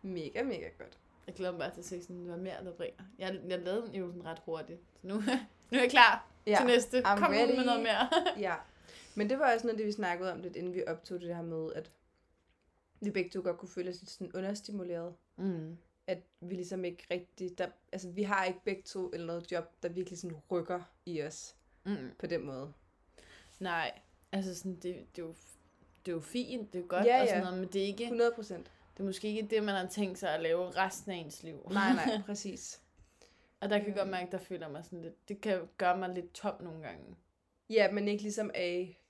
S1: Mega, mega godt.
S2: Jeg glæder mig bare til at se, sådan, hvad mere der bringer. Jeg, jeg lavede den jo sådan ret hurtigt. Så nu, nu er jeg klar
S1: Ja,
S2: til næste.
S1: I'm
S2: Kom ud
S1: ready.
S2: med noget mere.
S1: ja. Men det var også noget, af det vi snakkede om lidt, inden vi optog det her med, at vi begge to godt kunne føle os lidt sådan understimuleret.
S2: mm.
S1: At vi ligesom ikke rigtig... Der, altså, vi har ikke begge to eller noget job, der virkelig sådan rykker i os
S2: Mm.
S1: på den måde.
S2: Nej, altså sådan, det, det, er jo, det er jo fint, det er godt
S1: Ja,
S2: og sådan
S1: ja.
S2: noget, men det er, ikke,
S1: 100 procent.
S2: det er måske ikke det, man har tænkt sig at lave resten af ens liv.
S1: Nej, nej, præcis.
S2: Og der kan jeg godt
S1: Øhm.
S2: mærke, der føler jeg mig sådan lidt... Det kan gøre mig lidt tom nogle gange.
S1: Ja, men ikke ligesom af,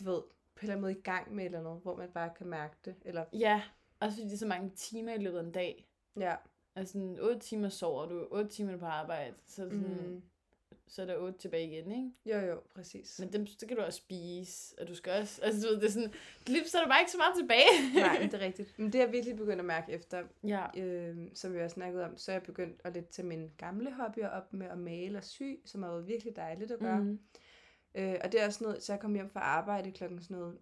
S1: du ved, på en eller anden måde i gang med et eller noget, hvor man bare kan mærke det. Eller,
S2: Ja, også fordi det er så mange timer i løbet af en dag.
S1: ja.
S2: Altså sådan, 8 timer sover du, 8 timer er du på arbejde, så, er det sådan, mm.
S1: Mm.
S2: så er der 8 tilbage igen, ikke?
S1: Jo, jo, præcis.
S2: Men dem, så kan du også spise, og du skal også... Altså, du ved, det er sådan... Lige så er der bare ikke så meget tilbage.
S1: Nej, men det er rigtigt. Men det er jeg virkelig begyndt at mærke efter,
S2: ja.
S1: øh, som vi også snakkede om, så er jeg begyndt at lidt tage mine gamle hobbyer op med at male og sy, som har været virkelig dejligt at gøre. Mm.
S2: Mm.
S1: Øh, og det er også noget, så jeg kom hjem fra arbejde klokken sådan noget,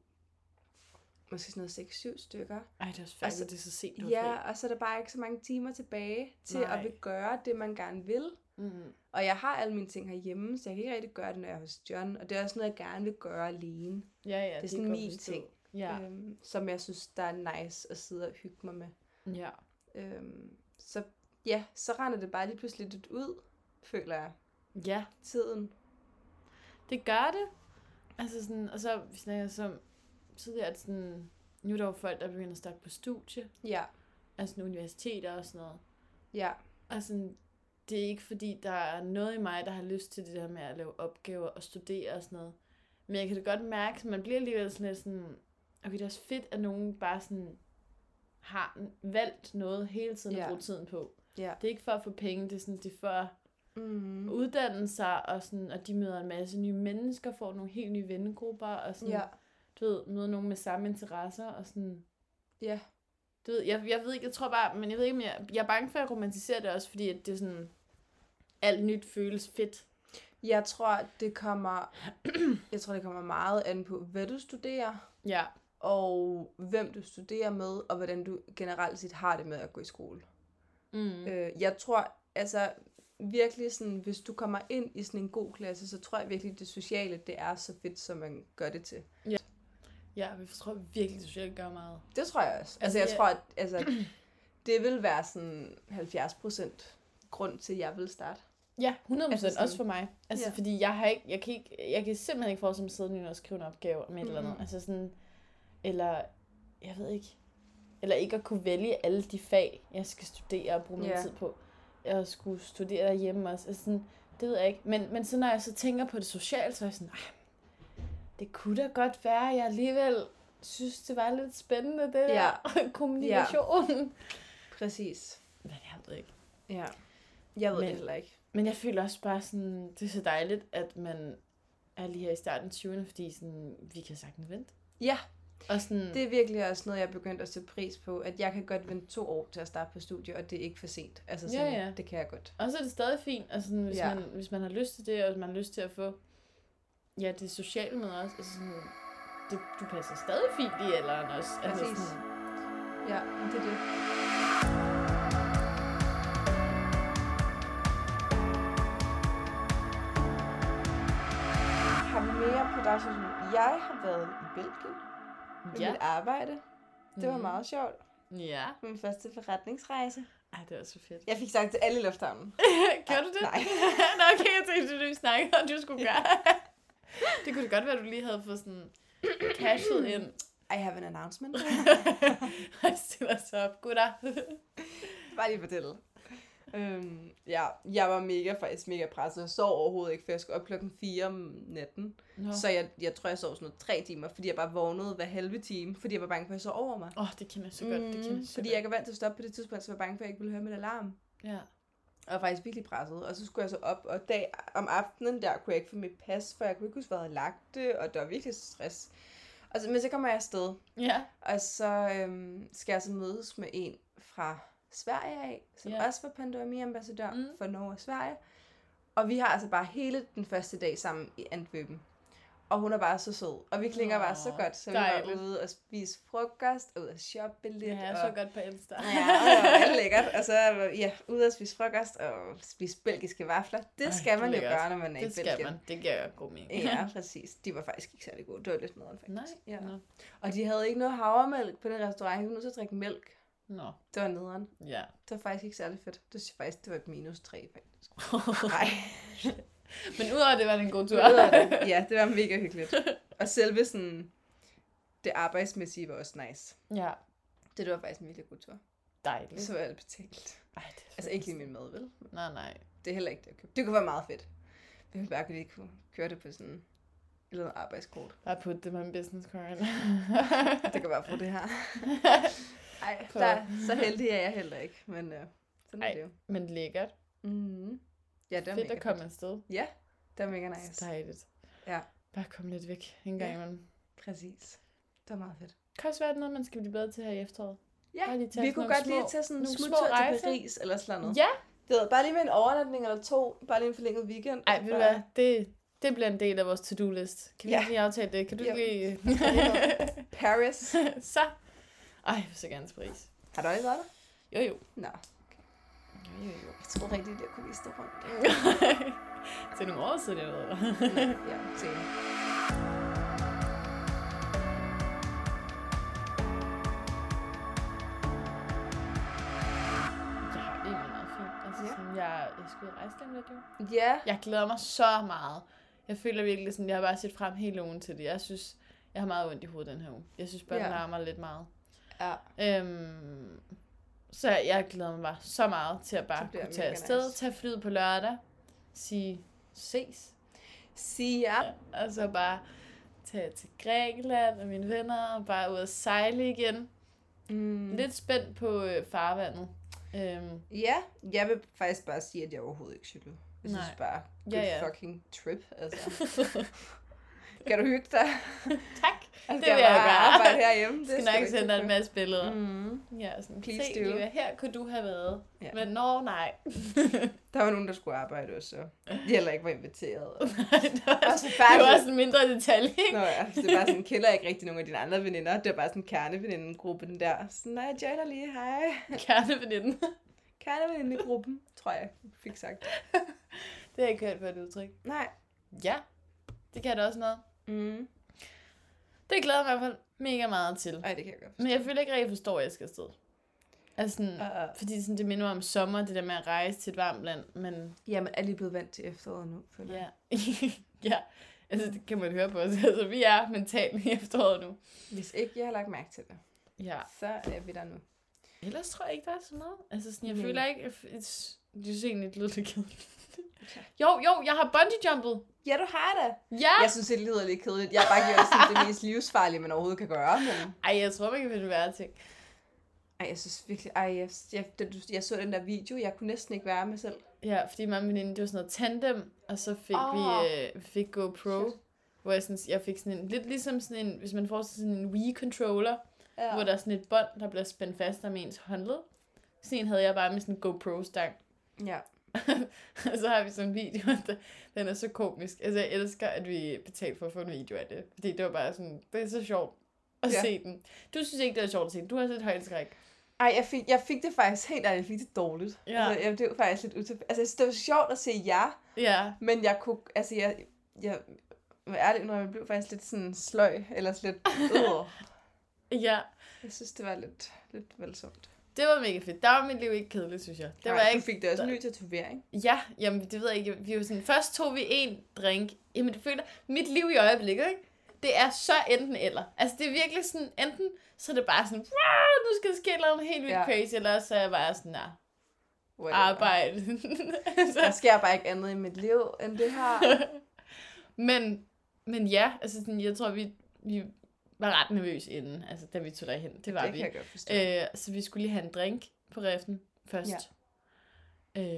S1: måske sådan noget 6-7 stykker.
S2: Ej, det er også
S1: Altså,
S2: færdigt, det er så sent, du har
S1: Ja, og så er der bare ikke så mange timer tilbage til Nej.
S2: Nej.
S1: at vil gøre det, man gerne vil.
S2: fri. Mm.
S1: Og jeg har alle mine ting herhjemme, så jeg kan ikke rigtig gøre det, når jeg er hos John. Og det er også noget, jeg gerne vil gøre alene.
S2: Ja, ja,
S1: det er
S2: kan
S1: sådan
S2: jeg godt
S1: min
S2: forstå.
S1: ting,
S2: Ja,
S1: ja. øhm, som jeg synes, der er nice at sidde og hygge mig med.
S2: ja.
S1: Øhm, så ja, så render det bare lige pludselig lidt ud, føler jeg.
S2: Ja,
S1: Tiden.
S2: Det gør det. Altså sådan, og så vi snakker som tidligere, at sådan, nu er der jo folk, der begynder at starte på studie,
S1: Ja,
S2: altså sådan universiteter og sådan noget.
S1: ja,
S2: Og sådan, det er ikke fordi, der er noget i mig, der har lyst til det der med at lave opgaver og studere og sådan noget. Men jeg kan da godt mærke, at man bliver alligevel sådan lidt sådan, okay, det er også fedt, at nogen bare sådan har valgt noget hele tiden
S1: Ja.
S2: at bruge tiden på.
S1: ja.
S2: Det er ikke for at få penge, det er sådan, det er for at
S1: Mm.
S2: uddanne sig, og, sådan, og de møder en masse nye mennesker, får nogle helt nye vennegrupper, og sådan,
S1: Ja,
S2: du ved, møder nogen med samme interesser, og sådan,
S1: ja,
S2: du ved, jeg, jeg ved ikke, jeg tror bare, men jeg ved ikke, om jeg, jeg er bange for, at jeg romantiserer det også, fordi at det er sådan, alt nyt føles fedt.
S1: jeg tror, det kommer, jeg tror, det kommer meget an på, hvad du studerer,
S2: Ja,
S1: og hvem du studerer med, og hvordan du generelt set har det med at gå i skole.
S2: mm. øh.
S1: Øh, jeg tror, altså virkelig sådan, hvis du kommer ind i sådan en god klasse, så tror jeg virkelig, det sociale, det er så fedt, som man gør det til.
S2: ja, jeg tror virkelig, det socialt gør meget.
S1: Det tror jeg også. Altså, jeg
S2: Ja.
S1: tror, at altså, det vil være sådan 70 procent grund til, at jeg vil starte.
S2: Ja, 100%
S1: Altså
S2: altså
S1: sådan-
S2: også for mig. Altså,
S1: Ja.
S2: ja. fordi jeg har ikke, jeg kan, ikke, jeg kan simpelthen ikke forestille mig at sidde nu og skrive en opgave om et eller andet.
S1: Mhm.
S2: Altså sådan, eller, jeg ved ikke, eller ikke at kunne vælge alle de fag, jeg skal studere og bruge min
S1: Ja.
S2: tid på. Jeg skulle studere derhjemme også. Altså sådan, det ved jeg ikke. Men, men så når jeg så tænker på det sociale, så er jeg sådan, "Ej, det kunne da godt være, at jeg alligevel synes, det var lidt spændende, det
S1: Ja.
S2: der kommunikation. Ja.
S1: Præcis.
S2: Men jeg ved ikke.
S1: Ja. Jeg ved
S2: Men-
S1: det heller ikke.
S2: Men jeg føler også bare sådan, det er så dejligt, at man er lige her i starten af 20'erne, fordi sådan, vi kan sagtens vente.
S1: Ja.
S2: Og sådan,
S1: Det er virkelig også noget, jeg er begyndt at sætte pris på, at jeg kan godt vente to år til at starte på studie, og det er ikke for sent. Altså
S2: Ja,
S1: sådan,
S2: ja.
S1: det kan jeg godt.
S2: Og så er det stadig fint, og sådan, hvis,
S1: Ja.
S2: ja. man, hvis man har lyst til det, og hvis man har lyst til at få ja, det sociale med os, altså sådan, det, du passer stadig fint i alderen også. Altså
S1: Præcis.
S2: Sådan,
S1: Ja, men det er det. Jeg har mere på dig, som jeg har været i Belgien med ja.
S2: ja.
S1: mit arbejde. Det var
S2: Mhm.
S1: meget sjovt.
S2: Ja.
S1: Min første forretningsrejse.
S2: Ej, det var så fedt.
S1: Jeg fik sagt til alle i lufthavnen.
S2: Gjorde du det?
S1: Nej.
S2: Nå, okay, jeg tænkte, du snakkede om, du skulle gøre. det kunne da godt være, at du lige havde fået sådan cashet ind.
S1: I have an announcement.
S2: og stiller sig op. Gutter.
S1: Bare lige fortælle. Øhm, ja, jeg var mega, faktisk mega presset. Jeg sov overhovedet ikke, for jeg skulle op klokken 4 om natten.
S2: Nå.
S1: Så jeg, jeg tror, jeg sov sådan noget tre timer, fordi jeg bare vågnede hver halve time, fordi jeg var bange for, at jeg sov over mig.
S2: Åh, oh, det kender jeg så godt. Det kender jeg så
S1: Mm, fordi
S2: godt.
S1: jeg ikke var vant til at stoppe på det tidspunkt, så jeg var bange for, at jeg ikke ville høre mit alarm.
S2: Ja.
S1: Og var faktisk virkelig presset. Og så skulle jeg så op, og dag, om aftenen der kunne jeg ikke få mit pas, for jeg kunne ikke huske, hvor jeg havde lagt det, og der var virkelig stress. Og så, men så kommer jeg afsted,
S2: Ja.
S1: og så øhm, skal jeg så mødes med en fra Sverige af, som
S2: Ja.
S1: også var pandemiambassadør
S2: Mm.
S1: mm. for Norge og Sverige. Og vi har altså bare hele den første dag sammen i Antwerpen. Og hun er bare så sød. Og vi klinger bare så
S2: Åh,
S1: godt, så vi var
S2: dejligt.
S1: ude og spise frokost, og ude og shoppe lidt.
S2: Det har jeg
S1: og...
S2: så godt på Insta.
S1: Ja, og det var alt lækkert. Og så ja, ude og spise frokost og spise belgiske vafler. Det
S2: Ej,
S1: Ej, skal
S2: det
S1: man jo
S2: lækkert.
S1: gøre, når man er
S2: Det
S1: i Belgien.
S2: skal man. Det giver jo god mening.
S1: Ja, præcis. De var faktisk ikke særlig gode. Det var lidt noget, faktisk.
S2: Nej.
S1: Ja.
S2: Nå.
S1: Og de havde ikke noget havremælk på den restaurant. Vi var nødt til at drikke mælk.
S2: Nå.
S1: Det var nederen.
S2: Ja.
S1: Det var faktisk ikke særlig fedt. Det synes jeg faktisk, det var et minus 3, faktisk. Nej.
S2: Men udover det var det en god tur.
S1: ja, det var mega hyggeligt. Og selve sådan, det arbejdsmæssige var også nice.
S2: ja.
S1: Det, det var faktisk en virkelig god tur.
S2: Dejligt.
S1: Så var alt betalt.
S2: Ej, det er
S1: Altså ikke lige min mad, vel?
S2: Nej, nej.
S1: Det er heller ikke det, jeg købte. Det kunne være meget fedt. Vi ville bare lige kunne køre det på sådan et eller andet arbejdskort.
S2: Bare put det på en business card.
S1: Det kan bare få det her. Ej,
S2: På-
S1: der, så heldig er jeg heller ikke, men øh, sådan
S2: Ej.
S1: er det jo.
S2: Men lækkert.
S1: Mm-hmm. Ja, det var
S2: Fedt
S1: mega
S2: at komme afsted.
S1: Ja, det var mega
S2: Nice.
S1: nice.
S2: Dejligt.
S1: Ja.
S2: Bare komme lidt væk en gang
S1: Ja.
S2: imellem.
S1: Præcis. Det var meget fedt.
S2: Kan også være noget, man skal blive bedre til her i efteråret.
S1: Ja,
S2: Bare lige tage
S1: vi
S2: sådan
S1: kunne
S2: nogle
S1: godt lige
S2: små-
S1: tage sådan en
S2: nogle små
S1: smuttur til
S2: rejser.
S1: Paris eller sådan noget.
S2: Ja,
S1: Det ved, bare lige med en overnatning eller to, bare lige en forlænget weekend.
S2: Ej, ved du hvad, det, det bliver en del af vores to-do-list. Kan vi
S1: Ja.
S2: ikke lige aftale det? Kan du
S1: Jo.
S2: ikke lige...
S1: Paris.
S2: så. Ej, jeg vil så gerne til Paris.
S1: Har du aldrig været der?
S2: Jo, jo.
S1: Nå,
S2: Jo, jo, jo.
S1: jeg troede rigtigt, jeg kunne vise dig rundt.
S2: det er nogle år siden, jeg ved det.
S1: ja, same.
S2: Jeg har det egentlig meget fint. Altså,
S1: Ja.
S2: ja. sådan, jeg, jeg skulle ud og rejse lige om lidt, jo.
S1: Ja,
S2: Jeg glæder mig så meget. Jeg føler virkelig sådan, jeg har bare set frem hele ugen til det. Jeg synes, jeg har meget ondt i hovedet den her uge. Jeg synes bare,
S1: Ja.
S2: den larmer lidt meget.
S1: ja.
S2: Øhm, så jeg glæder mig så meget til at bare
S1: Det bliver
S2: kunne tage
S1: mega
S2: afsted,
S1: nice.
S2: nice. tage flyet på lørdag, sige ses,
S1: Sige ja.
S2: og så bare tage til Grækenland med mine venner, og bare ud og sejle igen.
S1: Mm.
S2: Mm. Lidt spændt på øh, farvandet. Øhm,
S1: Ja, jeg vil faktisk bare sige, at jeg overhovedet ikke cykler. Jeg
S2: Nej.
S1: synes bare, good
S2: Ja, ja.
S1: fucking trip, altså. Kan du hygge dig?
S2: tak!
S1: Altså,
S2: Det vil jeg
S1: bare
S2: gøre.
S1: arbejde herhjemme.
S2: Det skal nok sende dig en
S1: med.
S2: masse billeder.
S1: Mm.
S2: Mm. Ja, sådan,
S1: Please
S2: se,
S1: do."
S2: Liva, her kunne du have været.
S1: Ja.
S2: Men nå, nej.
S1: Der var nogen, der skulle arbejde også, så de heller ikke var inviteret. Og...
S2: det var,
S1: Også
S2: det var
S1: færdigt.
S2: også en mindre detalje, ikke?
S1: Nå ja, det er bare sådan, kender ikke rigtig nogen af dine andre veninder. Det er bare sådan kernevenindegruppen den der. Sådan, nej, jeg joiner lige, hej.
S2: Kerneveninden.
S1: Kernevenindegruppen, tror jeg, jeg fik sagt.
S2: Det har jeg ikke hørt på et udtryk.
S1: Nej.
S2: Ja, det kan da også noget.
S1: Mm.
S2: Det glæder jeg mig i hvert fald mega meget til.
S1: Ej, det kan jeg godt.
S2: Men jeg føler ikke rigtig forstår, at jeg skal afsted. Altså sådan,
S1: Uh,
S2: fordi sådan, det minder mig om sommer, det der med at rejse til et varmt land, men
S1: jamen, er lige blevet vant til efteråret nu, føler jeg.
S2: ja. ja, altså det kan man høre på os. Altså vi er mentalt i efteråret nu.
S1: Hvis ikke jeg har lagt mærke til det,
S2: Ja.
S1: så er vi der nu.
S2: Ellers tror jeg ikke, der er så meget. Altså sådan, jeg
S1: Nej.
S2: føler ikke, jeg f- it's- det synes egentlig, det lyder lidt kedeligt. jo, jo, jeg har bungee jumpet.
S1: Ja, du har det.
S2: Ja!
S1: Jeg synes, det lyder lidt kedeligt. Jeg har bare gjort det, sådan, det mest livsfarlige, man overhovedet kan gøre. Men...
S2: Ej, jeg tror, man kan finde værre ting.
S1: Ej, jeg synes virkelig, ej, jeg, jeg, da du, jeg så den der video, jeg kunne næsten ikke være mig selv.
S2: Ja, fordi mig og min veninde, det var sådan noget tandem, og så fik oh. vi
S1: Åh.
S2: øh, fik GoPro, Shit.
S1: Shit.
S2: hvor jeg, sådan, jeg fik sådan en, lidt ligesom sådan en, hvis man får sådan en Wii-controller, ja.
S1: Ja.
S2: hvor der er sådan et bånd, der bliver spændt fast om ens håndled. Sådan en havde jeg bare med sådan en GoPro-stang.
S1: ja.
S2: og så har vi sådan en video, der, den er så komisk. Altså, jeg elsker, at vi betalte for at få en video af det. Fordi det var bare sådan, det er så sjovt at
S1: Ja.
S2: ja. se den. Du synes ikke, det er sjovt at se den. Du har også et højdeskræk.
S1: Ej, jeg fik, jeg fik det faktisk helt ærligt, jeg fik det dårligt.
S2: Ja.
S1: Altså, jeg, det var faktisk lidt utilfreds. Altså, jeg synes, det var sjovt at se jer,
S2: Ja,
S1: men jeg kunne, altså, jeg, jeg, jeg ærligt når jeg blev faktisk lidt sådan sløj, eller sådan lidt, øh.
S2: ja.
S1: Jeg synes, det var lidt, lidt voldsomt.
S2: Det var mega fedt. Der var mit liv ikke kedeligt, synes jeg. Det var
S1: Ej,
S2: ikke...
S1: Du fik det også en ny tatovering.
S2: Ja, jamen det ved jeg ikke. Vi var sådan, først tog vi en drink. Jamen det føler, mit liv i øjeblikket, ikke? Det er så enten eller. Altså det er virkelig sådan, enten så er det bare sådan, "Wow, nu skal der ske noget helt vildt ja.
S1: Ja.
S2: crazy, eller også så er jeg bare sådan, nej,
S1: Whatever.
S2: arbejde.
S1: Der
S2: altså,
S1: sker bare ikke andet i mit liv, end det her.
S2: men, men ja, altså sådan, jeg tror, vi, vi var ret nervøse inden, altså da vi tog derhen. Det var
S1: det
S2: vi.
S1: kan jeg godt forstå. Øh,
S2: Øh, så vi skulle lige have en drink på riften først. Ja.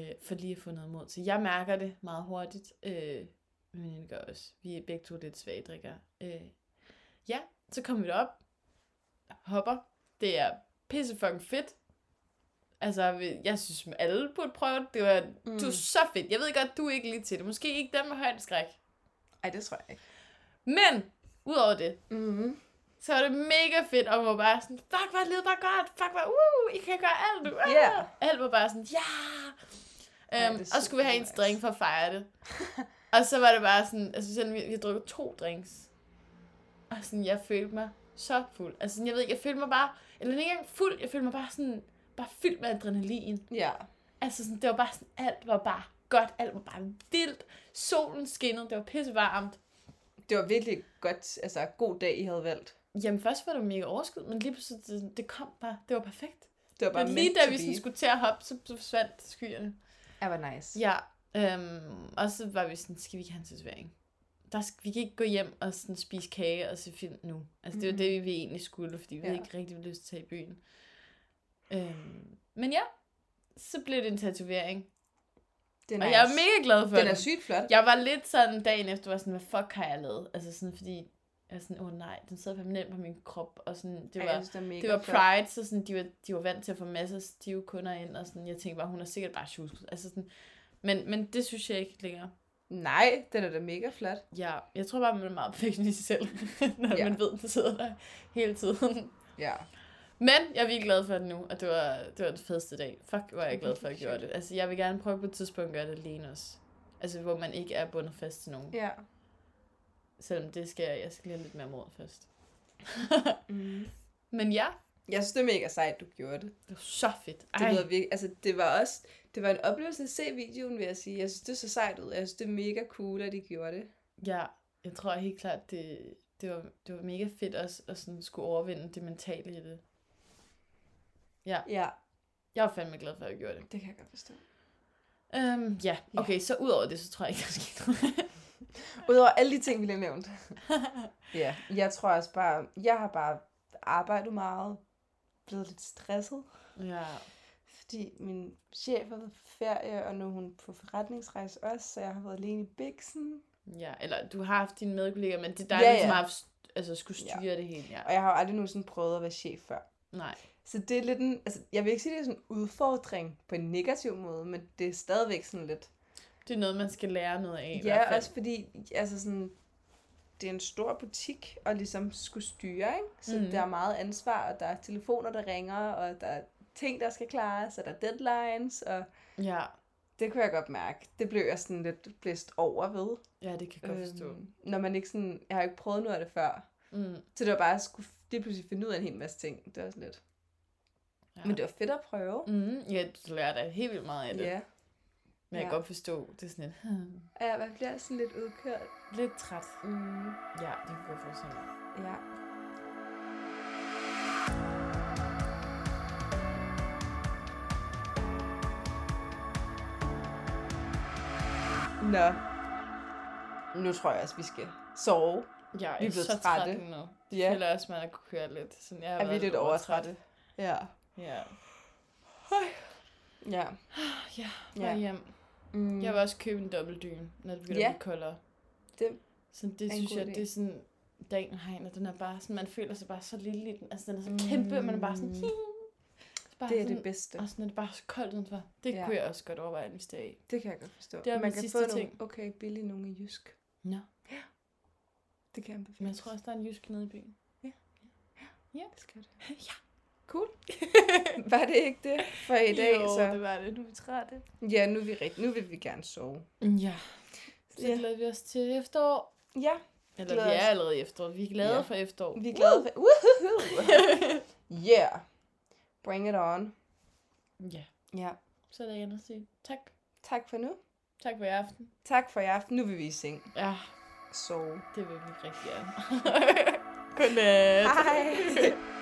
S2: Øh, for lige at få noget mod til. Jeg mærker det meget hurtigt. Øh, men det gør også. Vi er begge to lidt svage drikker. Øh, ja, så kommer vi derop. Hopper. Det er pisse fucking fedt. Altså, vi- jeg synes, at alle burde prøve det. Det var, mm. det var
S1: Mm.
S2: så fedt. Jeg ved godt, du er ikke lige til det. Måske ikke dem med højdeskræk.
S1: Ej, det tror jeg ikke.
S2: Men, udover det,
S1: Mm-hmm.
S2: så var det mega fedt, og man var bare sådan, fuck, hvor lyder bare godt, fuck, hvor, uh, I kan gøre alt nu. Uh.
S1: Ja.
S2: Alt var bare sådan, ja.
S1: Ej, det
S2: Øhm,
S1: er
S2: og så skulle vi have en
S1: super nice.
S2: drink for at fejre det. og så var det bare sådan, altså selvom vi, vi drukket to drinks, og sådan, jeg følte mig så fuld. Altså sådan, jeg ved ikke, jeg følte mig bare, eller ikke engang fuld, jeg følte mig bare sådan, bare fyldt med adrenalin.
S1: Ja.
S2: Altså sådan, det var bare sådan, alt var bare godt, alt var bare vildt. Solen skinnede, det var pissevarmt.
S1: Det var virkelig godt, altså god dag, I havde valgt.
S2: Jamen først var det mega overskud, men lige pludselig, det, det kom bare, det var perfekt.
S1: Det var bare
S2: Men lige
S1: meant
S2: da
S1: to
S2: vi
S1: be.
S2: sådan skulle til at hoppe, så, så forsvandt skyerne.
S1: Ej, hvor nice.
S2: Ja, øhm, og så var vi sådan, skal vi ikke have en tatovering? Der skal, vi kan ikke gå hjem og sådan spise kage og se film nu. Altså det var
S1: Mhm.
S2: det, vi egentlig skulle, fordi vi
S1: Ja.
S2: ja. ikke rigtig ville lyst til at tage i byen. Øhm, men ja, så blev det en tatovering.
S1: Det er
S2: Og
S1: nice.
S2: jeg er mega glad for
S1: Den er
S2: det.
S1: sygt flot.
S2: Jeg var lidt sådan dagen efter, var sådan, hvad fuck har jeg lavet? Altså sådan, fordi jeg er sådan, åh oh, nej, den sidder permanent på min krop. Og sådan, det
S1: Ej,
S2: var,
S1: jeg synes, det, er mega
S2: det var
S1: flot.
S2: Pride, så sådan, de, var, de var vant til at få masser af stive kunder ind, og sådan, jeg tænkte bare, hun er sikkert bare tjusket. Altså sådan, men, men det synes jeg ikke længere.
S1: Nej, den er da mega flot.
S2: Ja, jeg tror bare, man er meget perfekt i sig selv, når ja.
S1: Ja.
S2: man ved, det sidder der hele tiden.
S1: Ja.
S2: Men jeg er virkelig glad for det nu, og det var, det var den fedeste dag. Fuck, hvor er jeg glad for, at jeg gjorde det. Altså, jeg vil gerne prøve på et tidspunkt at gøre det alene også. Altså, hvor man ikke er bundet fast til nogen.
S1: Ja.
S2: Selvom det skal jeg, jeg skal lige have lidt mere mod først.
S1: Mm.
S2: Men ja,
S1: Jeg synes, det er mega sejt, du gjorde det.
S2: det var så fedt.
S1: Det, lyder virkelig, altså, det var også det var en oplevelse at se videoen, vil jeg sige. Jeg synes, det så sejt ud. Jeg synes, det er mega cool, at de gjorde det.
S2: Ja, jeg tror helt klart, det, det, var, det var mega fedt også at sådan skulle overvinde det mentale i det.
S1: Ja,
S2: Jeg var fandme glad for, at jeg gjorde det.
S1: det kan jeg godt forstå.
S2: Øhm, ja,
S1: Ja.
S2: okay, så ud over det, så tror jeg ikke, der skete noget.
S1: Udover alle de ting, vi lige nævnte. ja, jeg tror også bare, jeg har bare arbejdet meget, blevet lidt stresset,
S2: ja,
S1: fordi min chef har været på ferie, og nu er hun på forretningsrejse også, så jeg har været alene i Bixen.
S2: ja, eller du har haft dine medkolleger, men det er dig,
S1: Ja,
S2: ja, ja. som
S1: ja.
S2: har haft, st- altså, skulle
S1: Ja.
S2: styre ja. det hele. Ja.
S1: Og jeg har jo aldrig nogensinde prøvet at være chef før.
S2: Nej,
S1: Så det er lidt en, altså jeg vil ikke sige, det er sådan en udfordring på en negativ måde, men det er stadigvæk sådan lidt.
S2: det er noget, man skal lære noget af. i hvert
S1: Ja,
S2: fald.
S1: også fordi, altså sådan, det er en stor butik, og ligesom skulle styre, ikke? Så
S2: Mhm.
S1: mm. der er meget ansvar, og der er telefoner, der ringer, og der er ting, der skal klares, og der er deadlines, og
S2: Ja,
S1: det kunne jeg godt mærke. Det blev jeg sådan lidt blæst over ved.
S2: ja, det kan jeg godt forstå.
S1: Øhm, når man ikke sådan, jeg har jo ikke prøvet noget af det før.
S2: Mm,
S1: Så det var bare, at skulle lige pludselig finde ud af en hel masse ting. Det var sådan lidt.
S2: ja.
S1: Men det var fedt at prøve.
S2: Mm, ja, du lærer da helt vildt meget af det.
S1: Ja.
S2: Men jeg kan
S1: ja.
S2: godt forstå, det er sådan lidt, hmm,
S1: Og jeg bliver sådan lidt udkørt.
S2: lidt træt.
S1: Mm.
S2: Ja, det kan jeg godt forstå.
S1: Ja. Nå. Nu tror jeg også, vi skal sove.
S2: Ja, jeg
S1: Vi
S2: er
S1: er blevet
S2: så træt
S1: trætte.
S2: nu.
S1: Ja.
S2: Føler også, man har kunne køre lidt. Sådan, jeg har
S1: Er vi
S2: været
S1: lidt overtrætte? Ja. Ja.
S2: Høj.
S1: Ja.
S2: Ja,
S1: Ja.
S2: ja. hjem.
S1: Mm.
S2: Jeg vil også købe en dobbeltdyne, når det begynder
S1: Ja.
S2: at blive koldere.
S1: Det
S2: så det
S1: en
S2: synes
S1: god
S2: jeg,
S1: idé.
S2: det er sådan dagen herinde, den er bare sådan, man føler sig bare så lille i den. Altså den er så kæmpe, man er bare sådan,
S1: Mm.
S2: hi. Så bare
S1: Det er
S2: sådan, Ah.
S1: det bedste.
S2: Og sådan er det bare så koldt udenfor. Det
S1: Ja.
S2: ja. kunne jeg også godt overveje at investere i.
S1: Det kan jeg godt forstå.
S2: Det var
S1: Man
S2: min
S1: kan få
S2: sidste
S1: nogle
S2: ting.
S1: okay billige nogle i Jysk.
S2: Nå.
S1: Det kan jeg anbefale.
S2: Men jeg tror også, der er en jysk nede i byen.
S1: det skal det.
S2: ja.
S1: Cool. Var det ikke det for i dag?
S2: jo,
S1: så?
S2: det var det. Nu er vi trætte.
S1: Ja, nu, er vi rigt... nu vil vi gerne sove.
S2: Ja. Så
S1: Ja.
S2: glæder vi os til efterår.
S1: Ja,
S2: Eller
S1: Glæder
S2: vi
S1: os.
S2: er allerede i efterår. Vi er glade
S1: Ja.
S2: for efterår.
S1: vi er glade for... Woohoo! Yeah! Bring it on.
S2: ja.
S1: Ja.
S2: Så er der igen at sige tak.
S1: Tak for nu.
S2: Tak for i aften.
S1: Tak for i aften. Nu vil vi i seng.
S2: Ja,
S1: Sove.
S2: det vil vi rigtig gerne. Godnat.
S1: Hej!